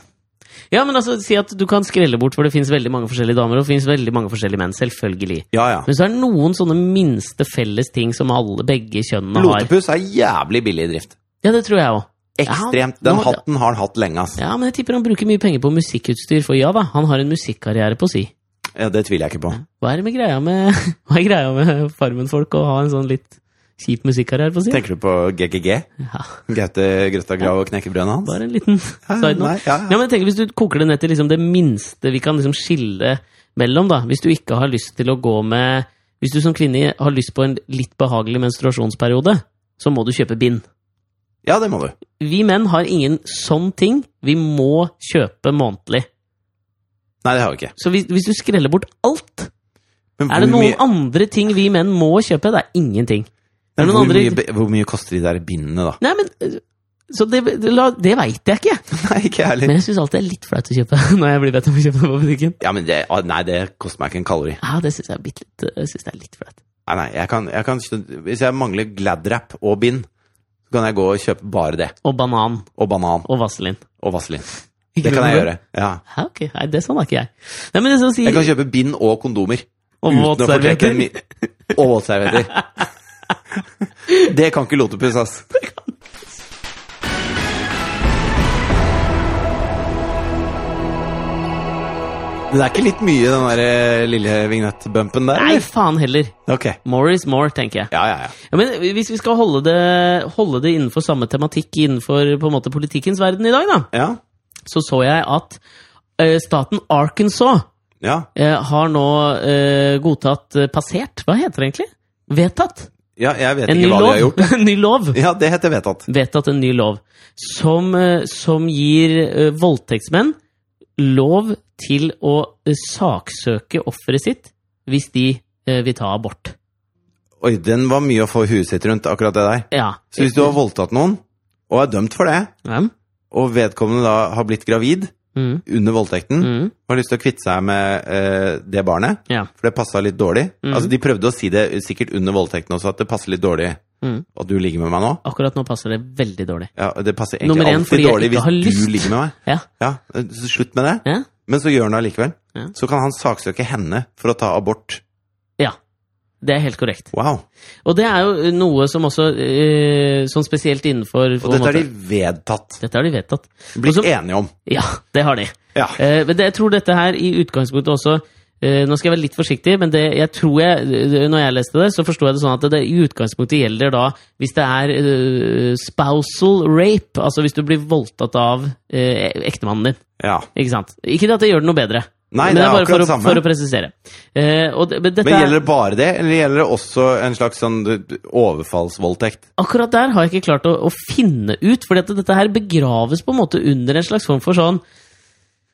[SPEAKER 1] ja, men altså, si at du kan skrelle bort, for det fins veldig mange forskjellige damer og det finnes veldig mange forskjellige menn. Selvfølgelig.
[SPEAKER 2] Ja, ja.
[SPEAKER 1] Men så er det noen sånne minste felles ting som alle, begge kjønnene har.
[SPEAKER 2] Lotepus er jævlig billig i drift.
[SPEAKER 1] Ja, det tror jeg òg.
[SPEAKER 2] Ekstremt.
[SPEAKER 1] Ja,
[SPEAKER 2] Den
[SPEAKER 1] nå-
[SPEAKER 2] hatten har han hatt lenge, ass.
[SPEAKER 1] Ja, men jeg tipper han bruker mye penger på musikkutstyr, for ja da, han har en musikkarriere på si.
[SPEAKER 2] Ja, det tviler jeg ikke på.
[SPEAKER 1] Hva er det med greia med, hva er greia med Farmen-folk å ha en sånn litt kjip musikkarriere på si?
[SPEAKER 2] Tenker du på GGG?
[SPEAKER 1] Ja,
[SPEAKER 2] Gaute Grøtta Grav og knekkebrødet hans?
[SPEAKER 1] bare en liten side note.
[SPEAKER 2] Nei, ja,
[SPEAKER 1] Ja,
[SPEAKER 2] ja.
[SPEAKER 1] men jeg tenker Hvis du koker det ned til liksom det minste vi kan liksom skille mellom, da Hvis du ikke har lyst til å gå med Hvis du som kvinne har lyst på en litt behagelig menstruasjonsperiode, så må du kjøpe bind.
[SPEAKER 2] ja, det må du.
[SPEAKER 1] Vi menn har ingen sånn ting. Vi må kjøpe månedlig.
[SPEAKER 2] Nei, det har vi ikke.
[SPEAKER 1] Så hvis, hvis du skreller bort alt
[SPEAKER 2] Men
[SPEAKER 1] Er det
[SPEAKER 2] hvor
[SPEAKER 1] noen
[SPEAKER 2] mye-
[SPEAKER 1] andre ting vi menn må kjøpe? Det er ingenting. Er det
[SPEAKER 2] Men
[SPEAKER 1] noen
[SPEAKER 2] hvor,
[SPEAKER 1] andre
[SPEAKER 2] mye, be- hvor mye koster de der bindene, da?
[SPEAKER 1] Nei, men øh, Så det, det, la- det veit jeg ikke.
[SPEAKER 2] Nei, ikke jeg heller.
[SPEAKER 1] Men jeg syns alltid det er litt flaut å kjøpe når jeg blir bedt om å kjøpe det på butikken.
[SPEAKER 2] Ja, men det, ah, nei, det koster meg ikke en kalori.
[SPEAKER 1] Ja, det syns jeg er bitte litt, jeg synes det er litt flaut.
[SPEAKER 2] Nei, nei, jeg kan, jeg kan, Hvis jeg mangler Gladrap og bind, så kan jeg gå og kjøpe bare det.
[SPEAKER 1] Og banan.
[SPEAKER 2] Og banan.
[SPEAKER 1] Og vaselin.
[SPEAKER 2] Og vaselin.
[SPEAKER 1] Ikke
[SPEAKER 2] Det kan jeg
[SPEAKER 1] noe
[SPEAKER 2] gjøre. Ja.
[SPEAKER 1] Hæ, ok. Nei, det sånn er ikke jeg. Nei, men det er sånn å si
[SPEAKER 2] Jeg kan kjøpe bind og kondomer.
[SPEAKER 1] Og
[SPEAKER 2] uten å fortrekke en
[SPEAKER 1] våtservietter.
[SPEAKER 2] mi- Og våtservietter. Det kan ikke Lotepus, ass. Men det er ikke litt mye, den der eh, lille vignettbumpen der?
[SPEAKER 1] Nei,
[SPEAKER 2] eller?
[SPEAKER 1] faen heller.
[SPEAKER 2] Ok.
[SPEAKER 1] More is more, tenker jeg.
[SPEAKER 2] Ja, ja, ja.
[SPEAKER 1] Ja, men Hvis vi skal holde det, holde det innenfor samme tematikk innenfor på en måte politikkens verden i dag, da,
[SPEAKER 2] Ja,
[SPEAKER 1] så så jeg at eh, staten Arkansas
[SPEAKER 2] ja.
[SPEAKER 1] eh, har nå eh, godtatt eh, passert Hva heter det egentlig? Vedtatt
[SPEAKER 2] ja jeg vet
[SPEAKER 1] en ny
[SPEAKER 2] ikke hva de har
[SPEAKER 1] lov.
[SPEAKER 2] gjort.
[SPEAKER 1] En ny lov.
[SPEAKER 2] Ja, det heter vedtatt.
[SPEAKER 1] Vedtatt en ny lov som, eh, som gir eh, voldtektsmenn lov til å eh, saksøke offeret sitt hvis de eh, vil ta abort.
[SPEAKER 2] Oi, den var mye å få huet sitt rundt, akkurat det der.
[SPEAKER 1] Ja.
[SPEAKER 2] Så hvis du har voldtatt noen, og er dømt for det,
[SPEAKER 1] Ja.
[SPEAKER 2] og vedkommende da har blitt gravid
[SPEAKER 1] Mm.
[SPEAKER 2] under voldtekten,
[SPEAKER 1] Mm.
[SPEAKER 2] har lyst til å kvitte seg med eh, det barnet,
[SPEAKER 1] Ja.
[SPEAKER 2] for det passa litt dårlig.
[SPEAKER 1] Mhm.
[SPEAKER 2] Altså, de prøvde å si det sikkert under voldtekten også, at det passer litt dårlig
[SPEAKER 1] Mhm.
[SPEAKER 2] at du ligger med meg nå.
[SPEAKER 1] Akkurat nå passer det veldig dårlig.
[SPEAKER 2] Ja, det passer egentlig
[SPEAKER 1] Nummer én, fordi jeg
[SPEAKER 2] alltid dårlig
[SPEAKER 1] ikke
[SPEAKER 2] hvis
[SPEAKER 1] har
[SPEAKER 2] du
[SPEAKER 1] lyst.
[SPEAKER 2] ligger med meg.
[SPEAKER 1] Ja.
[SPEAKER 2] Ja, eh, så slutt med det.
[SPEAKER 1] Ja.
[SPEAKER 2] Men så gjør han det allikevel.
[SPEAKER 1] Ja.
[SPEAKER 2] Så kan han saksøke henne for å ta abort.
[SPEAKER 1] ja. Det er helt korrekt.
[SPEAKER 2] Wow.
[SPEAKER 1] Og det er jo noe som også eh, Sånn spesielt innenfor på en
[SPEAKER 2] Og dette har de
[SPEAKER 1] måte-
[SPEAKER 2] vedtatt.
[SPEAKER 1] dette har de vedtatt.
[SPEAKER 2] Blitt
[SPEAKER 1] Og så-
[SPEAKER 2] enige om.
[SPEAKER 1] Ja, det har de.
[SPEAKER 2] Ja.
[SPEAKER 1] Eh, men det, jeg tror dette her i utgangspunktet også eh, Nå skal jeg være litt forsiktig, men det, jeg tror jeg, eh, når jeg leste det, så forsto jeg det sånn at det, i utgangspunktet gjelder da hvis det er eh, spousal rape, altså hvis du blir voldtatt av eh, ektemannen din.
[SPEAKER 2] ja.
[SPEAKER 1] Ikke sant? Ikke at det gjør det noe bedre.
[SPEAKER 2] Nei,
[SPEAKER 1] Men
[SPEAKER 2] det er
[SPEAKER 1] bare
[SPEAKER 2] akkurat
[SPEAKER 1] for å,
[SPEAKER 2] det samme.
[SPEAKER 1] For å presisere. Eh, og det, men dette
[SPEAKER 2] Men
[SPEAKER 1] er-
[SPEAKER 2] gjelder det bare det, eller gjelder det også en slags sånn eh, overfallsvoldtekt?
[SPEAKER 1] akkurat der har jeg ikke klart å, å finne ut, fordi at dette her begraves på en måte under en slags form for sånn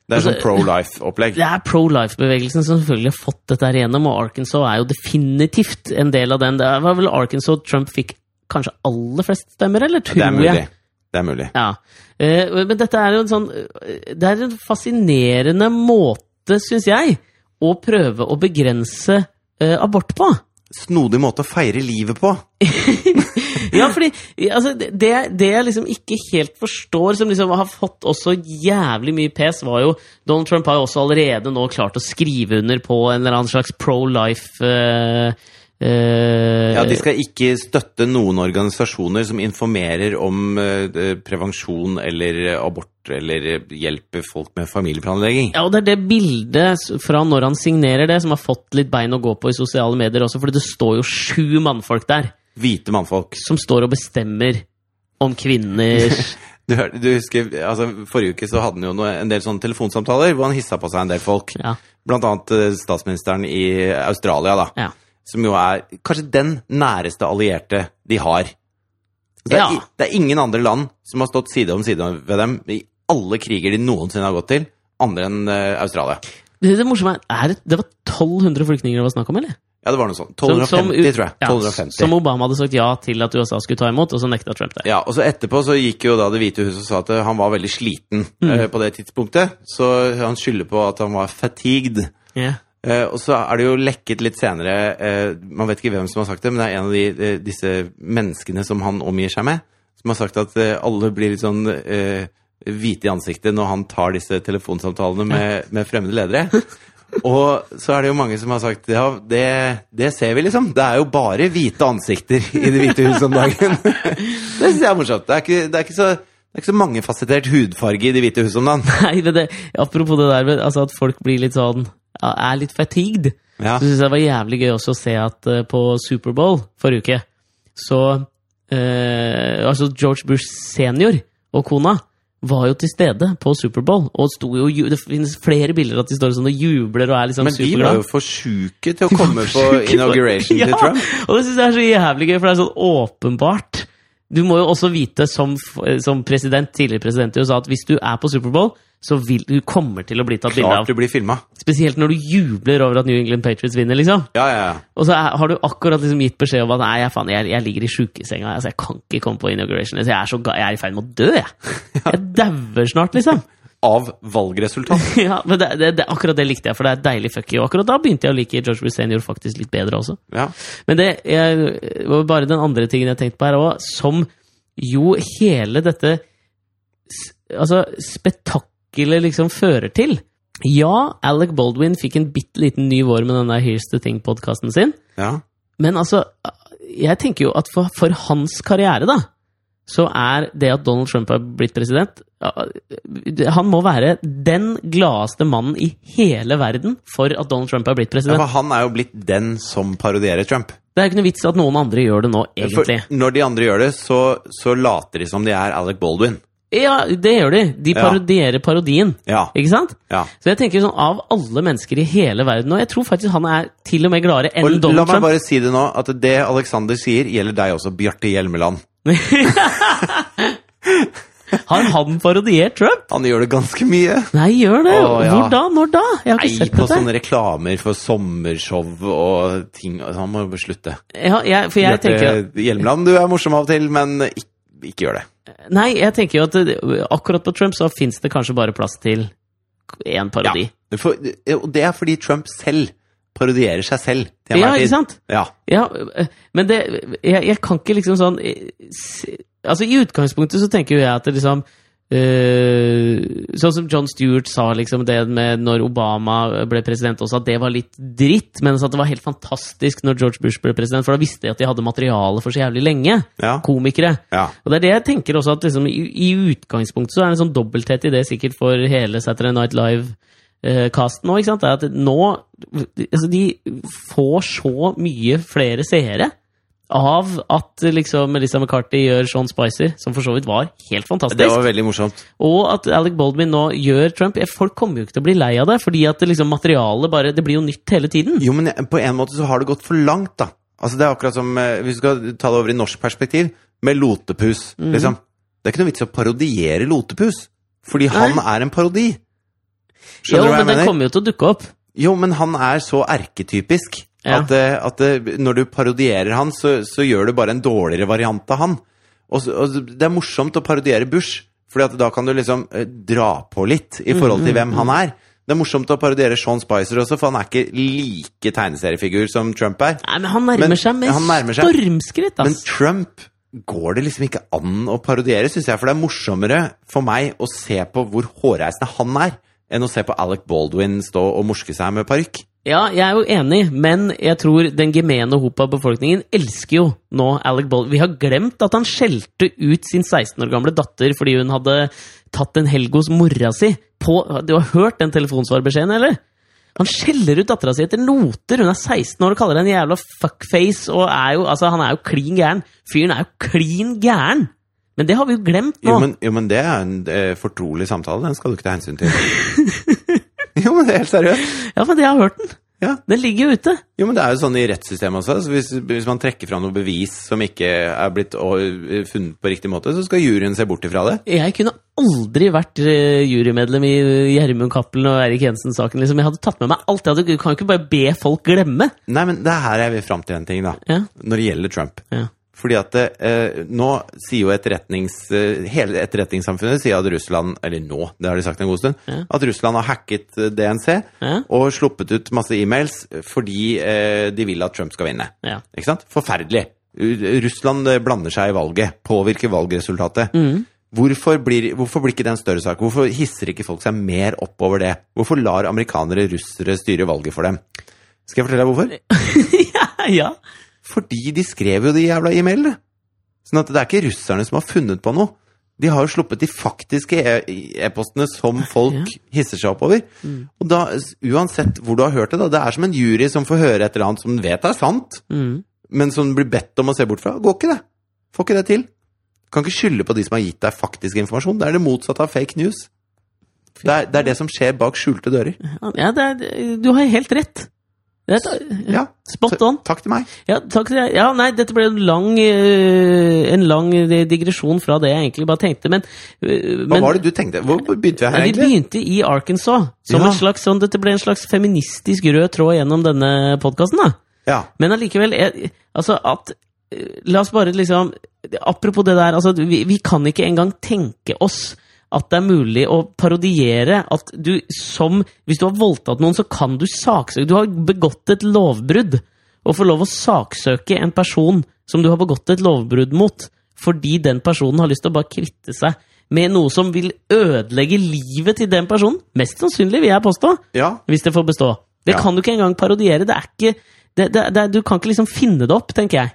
[SPEAKER 2] Det er
[SPEAKER 1] Altså,
[SPEAKER 2] sånn pro life-opplegg.
[SPEAKER 1] Det er pro-life-bevegelsen som selvfølgelig har fått dette her igjennom, og Arkansas er jo definitivt en del av den. Det var vel Arkansas Trump fikk kanskje aller flest stemmer, eller tror
[SPEAKER 2] Det er mulig.
[SPEAKER 1] jeg?
[SPEAKER 2] Det er mulig.
[SPEAKER 1] Ja. Eh, Men dette er jo en sånn eh, Det er en fascinerende måte, syns jeg, å prøve å begrense eh, abort på.
[SPEAKER 2] Snodig måte å feire livet på.
[SPEAKER 1] Ja, fordi altså, det, det jeg liksom ikke helt forstår, som liksom har fått også jævlig mye pes, var jo Donald Trump har jo også allerede nå klart å skrive under på en eller annen slags pro life eh, eh,
[SPEAKER 2] Ja, De skal ikke støtte noen organisasjoner som informerer om eh, eh, prevensjon eller eh, abort eller eh, hjelper folk med familieplanlegging.
[SPEAKER 1] Ja, og det er det bildet s- fra når han signerer det, som har fått litt bein å gå på i sosiale medier også, fordi det står jo sju mannfolk der
[SPEAKER 2] Hvite mannfolk.
[SPEAKER 1] som står og bestemmer om kvinner
[SPEAKER 2] Du, hør- du husker, altså Forrige uke så hadde han jo noe, en del sånne telefonsamtaler hvor han hissa på seg en del folk.
[SPEAKER 1] Ja.
[SPEAKER 2] Blant annet eh, statsministeren i Australia, da.
[SPEAKER 1] ja.
[SPEAKER 2] Som jo er kanskje den næreste allierte de har. Det er,
[SPEAKER 1] Ja.
[SPEAKER 2] i- det er ingen andre land som har stått side om side ved dem i alle kriger de noensinne har gått til, andre enn eh, Australia.
[SPEAKER 1] Det, det morsomme er, er det, det var 1200 flyktninger det var snakk om, eller?
[SPEAKER 2] Ja, det var noe sånt.
[SPEAKER 1] Som-
[SPEAKER 2] 1250,
[SPEAKER 1] som-
[SPEAKER 2] tror jeg.
[SPEAKER 1] ja,
[SPEAKER 2] 1250.
[SPEAKER 1] Som Obama hadde sagt ja til at USA skulle ta imot, og så nekta Trump det.
[SPEAKER 2] ja, og så etterpå så gikk jo da Det hvite huset og sa at eh, han var veldig sliten
[SPEAKER 1] Mm.
[SPEAKER 2] eh, på det tidspunktet. Så han skylder på at han var fatigued.
[SPEAKER 1] Ja.
[SPEAKER 2] Eh, og så er det jo lekket litt senere eh, Man vet ikke hvem som har sagt det, men det er en av de, eh, disse menneskene som han omgir seg med, som har sagt at eh, alle blir litt sånn eh, hvite i ansiktet når han tar disse telefonsamtalene med, med fremmede ledere. Og så er det jo mange som har sagt ja, det, det ser vi, liksom. Det er jo bare hvite ansikter i Det hvite huset om dagen. det syns jeg er morsomt. Det er ikke, det er ikke så det er ikke så mangefasettert hudfarge i Det hvite huset om dagen.
[SPEAKER 1] Nei, men det, apropos det der med altså at folk blir litt sånn ja, Er litt fatigued.
[SPEAKER 2] Ja.
[SPEAKER 1] Så syns jeg det var jævlig gøy også å se at eh, på Superbowl forrige uke, så eh, Altså George Bush senior og kona var jo til stede på Superbowl, og sto jo, ju- det finnes flere bilder at de står sånn og jubler og er liksom
[SPEAKER 2] Men de var jo for sjuke til å komme på
[SPEAKER 1] Sjuke folk.
[SPEAKER 2] inauguration til Trump.
[SPEAKER 1] Og det syns jeg er så jævlig gøy, for det er sånn åpenbart Du må jo også vite som, f- eh, som president, tidligere president i USA at hvis du er på Superbowl, så vil du kommer til å bli tatt bilde
[SPEAKER 2] Klart
[SPEAKER 1] av.
[SPEAKER 2] du blir filma.
[SPEAKER 1] Spesielt når du jubler over at New England Patriots vinner, liksom.
[SPEAKER 2] Ja, ja, ja.
[SPEAKER 1] Og så er, har du akkurat liksom gitt beskjed om at nei, jeg, faen, jeg, jeg ligger i sjukesenga, altså, jeg kan ikke komme på inauguration. Altså, jeg, er så ga jeg er i ferd med å dø, jeg. Jeg dauer snart, liksom.
[SPEAKER 2] Av valgresultat.
[SPEAKER 1] Ja, men det, det, det, akkurat det likte jeg, for det er et deilig fuck you. Akkurat da begynte jeg å like George Bush senior faktisk litt bedre også.
[SPEAKER 2] Ja.
[SPEAKER 1] Men det jeg- var bare den andre tingen jeg tenkte på her òg, som jo hele dette s- altså, spetakkelet liksom fører til. Ja, Alec Baldwin fikk en bitte liten ny vår med den der Here's the Thing-podkasten sin,
[SPEAKER 2] ja.
[SPEAKER 1] men altså Jeg tenker jo at for, for hans karriere, da, så er det at Donald Trump har blitt president ja, Han må være den gladeste mannen i hele verden for at Donald Trump har blitt
[SPEAKER 2] Ja,
[SPEAKER 1] president.
[SPEAKER 2] for han er jo blitt den som parodierer Trump.
[SPEAKER 1] Det er jo ikke noe vits at noen andre gjør det nå, egentlig.
[SPEAKER 2] For når de andre gjør det, så, så later de som de er Alec Baldwin.
[SPEAKER 1] Ja, det gjør de. De
[SPEAKER 2] Ja.
[SPEAKER 1] parodierer parodien.
[SPEAKER 2] Ja.
[SPEAKER 1] Ikke sant?
[SPEAKER 2] ja.
[SPEAKER 1] Så jeg tenker sånn, Av alle mennesker i hele verden og Jeg tror faktisk han er til og med gladere enn
[SPEAKER 2] Og la
[SPEAKER 1] Donald
[SPEAKER 2] meg
[SPEAKER 1] Trump.
[SPEAKER 2] bare si det nå, at det Alexander sier, gjelder deg også, Bjarte Hjelmeland.
[SPEAKER 1] Har han parodiert Trump?
[SPEAKER 2] Han gjør det ganske mye.
[SPEAKER 1] Nei, gjør det!
[SPEAKER 2] Å, ja.
[SPEAKER 1] Hvor da? Når da? Jeg har
[SPEAKER 2] Nei,
[SPEAKER 1] ikke sett
[SPEAKER 2] på
[SPEAKER 1] dette.
[SPEAKER 2] sånne reklamer for sommershow og ting. Altså, Han må jo slutte.
[SPEAKER 1] Ja, jeg, for jeg tenker,
[SPEAKER 2] Bjarte Hjelmeland, du er morsom av og til, men ikke, ikke gjør det.
[SPEAKER 1] nei, jeg tenker jo at det- akkurat på Trump så fins det kanskje bare plass til én parodi.
[SPEAKER 2] For, og det er fordi Trump selv parodierer seg selv. til
[SPEAKER 1] Ja,
[SPEAKER 2] enhver tid.
[SPEAKER 1] ikke sant?
[SPEAKER 2] Ja.
[SPEAKER 1] Ja, øh, men det Jeg, jeg kan ikke liksom sånn eh, se- Altså, i utgangspunktet så tenker jo jeg at det liksom øh, Sånn som John Stewart sa liksom det med når Obama ble president også, at det var litt dritt, men altså at det var helt fantastisk når George Bush ble president, for da visste de at de hadde materiale for så jævlig lenge.
[SPEAKER 2] Ja.
[SPEAKER 1] Komikere.
[SPEAKER 2] ja.
[SPEAKER 1] Og det er det jeg tenker også, at liksom, i, i utgangspunktet så er det en sånn dobbelthet i det sikkert for hele Saturday Night Live-casten nå, ikke sant? Det er at nå altså, De får så mye flere seere av at liksom Melissa McCarthy gjør Sean Spicer, som for så vidt var helt fantastisk.
[SPEAKER 2] Det var veldig morsomt.
[SPEAKER 1] Og at Alec Baldwin nå gjør Trump. Eh, Folk kommer jo ikke til å bli lei av det, fordi at det liksom materialet bare Det blir jo nytt hele tiden.
[SPEAKER 2] Jo, men på en måte så har det gått for langt, da. Altså, det er akkurat som, eh, hvis du skal ta det over i norsk perspektiv, med Lotepus,
[SPEAKER 1] Mhm.
[SPEAKER 2] liksom. Det er ikke noe vits i å parodiere Lotepus, fordi han er en parodi.
[SPEAKER 1] Jo,
[SPEAKER 2] Skjønner du hva jeg
[SPEAKER 1] men den
[SPEAKER 2] mener?
[SPEAKER 1] kommer jo til å dukke opp.
[SPEAKER 2] Jo, men han er så erketypisk
[SPEAKER 1] Ja.
[SPEAKER 2] at, eh, at eh, når du parodierer han, så, så gjør du bare en dårligere variant av han. Og, så- og så- det er morsomt å parodiere Bush, Fordi at da kan du liksom eh, dra på litt i forhold
[SPEAKER 1] Mhm.
[SPEAKER 2] til hvem han er. Det er morsomt å parodiere Sean Spicer også, for han er ikke like tegneseriefigur som Trump er.
[SPEAKER 1] Nei, men han nærmer
[SPEAKER 2] Men
[SPEAKER 1] seg med
[SPEAKER 2] han nærmer seg.
[SPEAKER 1] stormskritt,
[SPEAKER 2] Men
[SPEAKER 1] ass.
[SPEAKER 2] Trump går det liksom ikke an å parodiere, syns jeg. For det er morsommere for meg å se på hvor hårreisende han er, enn å se på Alec Baldwin stå og morske seg med parykk.
[SPEAKER 1] Ja, jeg er jo enig, men jeg tror den gemene hop av befolkningen elsker jo nå Alec Baldwin. Vi har glemt at han skjelte ut sin 16 år gamle datter fordi hun hadde tatt en helg hos mora si. På, du har hørt den telefonsvarbeskjeden, eller? Han skjeller ut dattera si etter noter! Hun er 16 år og kaller henne en jævla fuckface. Og er jo, altså, han er jo klin gæren. Fyren er jo klin gæren! Men det har vi jo glemt nå.
[SPEAKER 2] Jo men, jo, men det er en eh, fortrolig samtale. Den skal du ikke ta hensyn til. jo, men det er helt seriøst.
[SPEAKER 1] Ja, men jeg har hørt den.
[SPEAKER 2] Ja.
[SPEAKER 1] Den ligger jo ute.
[SPEAKER 2] Jo, men det er jo sånn i rettssystemet også. Så hvis, hvis man trekker fra noe bevis som ikke er blitt å- funnet på riktig måte, så skal juryen se bort ifra det.
[SPEAKER 1] Jeg kunne aldri vært eh, jurymedlem i eh, Gjermund Cappelen og Erik Jensen-saken. Liksom. Jeg hadde tatt med meg alt. Jeg hadde, du kan jo ikke bare be folk glemme.
[SPEAKER 2] Nei, men det er her jeg vil fram til en ting, da.
[SPEAKER 1] Ja.
[SPEAKER 2] Når det gjelder Trump.
[SPEAKER 1] Ja.
[SPEAKER 2] Fordi at eh, nå sier jo etterretnings, eh, hele etterretningssamfunnet sier at Russland Eller nå, det har de sagt en god stund.
[SPEAKER 1] Ja.
[SPEAKER 2] At Russland har hacket eh, DNC
[SPEAKER 1] Ja.
[SPEAKER 2] og sluppet ut masse e-mails fordi eh, de vil at Trump skal vinne.
[SPEAKER 1] Ja.
[SPEAKER 2] Ikke sant? Forferdelig. U- Russland eh, blander seg i valget, påvirker valgresultatet. Hvorfor, blir, hvorfor blir ikke det en større sak? Hvorfor hisser ikke folk seg mer opp over det? Hvorfor lar amerikanere russere styre valget for dem? Skal jeg fortelle deg hvorfor?
[SPEAKER 1] ja, ja.
[SPEAKER 2] Fordi de skrev jo de jævla e-mailene. Sånn at det er ikke russerne som har funnet på noe. De har jo sluppet de faktiske e- e-postene som folk hisser seg opp over. Og da, uansett hvor du har hørt det, da, det er som en jury som får høre et eller annet som den vet er sant,
[SPEAKER 1] Mm.
[SPEAKER 2] men som den blir bedt om å se bort fra. Går ikke det. Får ikke det til. Kan ikke skylde på de som har gitt deg faktisk informasjon. Det er det motsatte av fake news. Det er, det er det som skjer bak skjulte dører.
[SPEAKER 1] ja det er, du har helt rett. Det er-
[SPEAKER 2] Ja.
[SPEAKER 1] Spot on.
[SPEAKER 2] Takk til meg.
[SPEAKER 1] Ja, takk til deg. Ja, nei, dette ble en lang, eh, en lang digresjon fra det jeg egentlig bare tenkte, men
[SPEAKER 2] Hva var det du tenkte? Hvor begynte vi her,
[SPEAKER 1] Ja,
[SPEAKER 2] egentlig?
[SPEAKER 1] vi begynte i Arkansas. Som
[SPEAKER 2] Ja.
[SPEAKER 1] en slags, sånn, dette ble en slags feministisk rød tråd gjennom denne podkasten.
[SPEAKER 2] Ja.
[SPEAKER 1] Men allikevel jeg- altså at, eh, La oss bare liksom Apropos det der, altså, at vi, vi kan ikke engang tenke oss at det er mulig å parodiere at du som Hvis du har voldtatt noen, så kan du saksøke Du har begått et lovbrudd. Å få lov å saksøke en person som du har begått et lovbrudd mot, fordi den personen har lyst til å bare kvitte seg med noe som vil ødelegge livet til den personen. Mest sannsynlig, vil jeg påstå
[SPEAKER 2] ja.
[SPEAKER 1] hvis det får bestå. Det
[SPEAKER 2] Ja.
[SPEAKER 1] kan du ikke engang parodiere. Det er ikke, det, det, det, du kan ikke liksom finne det opp, tenker jeg.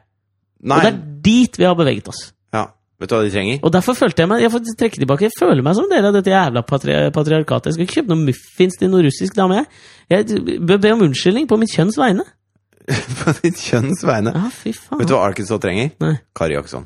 [SPEAKER 2] Nei.
[SPEAKER 1] Og det er dit vi har beveget oss.
[SPEAKER 2] Ja. Vet du hva de trenger?
[SPEAKER 1] Og derfor følte jeg meg Jeg får trekke tilbake, jeg føler meg som dere av dette jævla patri patriarkatet. Jeg skal ikke kjøpe noen muffins til noen russisk dame. Jeg Jeg bør be om unnskyldning på mitt kjønns vegne.
[SPEAKER 2] På ditt kjønns vegne.
[SPEAKER 1] Ja, fy faen.
[SPEAKER 2] Vet du hva Arkansas trenger?
[SPEAKER 1] Nei.
[SPEAKER 2] Kari Jaksson.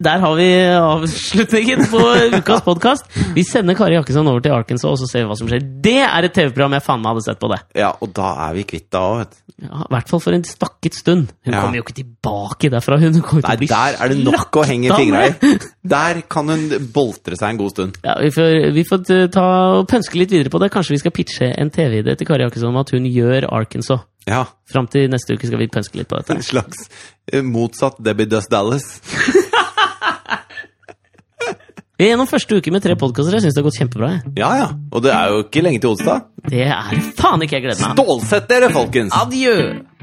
[SPEAKER 1] Der har vi avslutningen på ukas podkast. Vi sender Kari Jakkesson over til Arkansas, og så ser vi hva som skjer. Det er et TV-program jeg faen meg hadde sett på det.
[SPEAKER 2] Ja, og da er vi kvitt deg òg, vet du.
[SPEAKER 1] Ja, I hvert fall for en stakket stund. Hun
[SPEAKER 2] Ja.
[SPEAKER 1] kommer jo ikke tilbake derfra. Hun kommer til
[SPEAKER 2] Nei,
[SPEAKER 1] å bli
[SPEAKER 2] der er det nok å henge
[SPEAKER 1] slakta
[SPEAKER 2] fingra
[SPEAKER 1] med.
[SPEAKER 2] i. Der kan hun boltre seg en god stund.
[SPEAKER 1] Ja, vi får, vi får t- ta og pønske litt videre på det. Kanskje vi skal pitche en TV-idé til Kari Jakkesson om at hun gjør Arkansas.
[SPEAKER 2] Ja.
[SPEAKER 1] Fram til neste uke skal vi pønske litt på dette.
[SPEAKER 2] En slags eh, motsatt Debbie Dust Dallas.
[SPEAKER 1] Vi er gjennom første uke med tre podkaster. Jeg syns det har gått kjempebra. Jeg.
[SPEAKER 2] Ja ja. Og det er jo ikke lenge til onsdag.
[SPEAKER 1] Det er faen ikke jeg gleder meg.
[SPEAKER 2] Stålsett dere, folkens!
[SPEAKER 1] Adjø!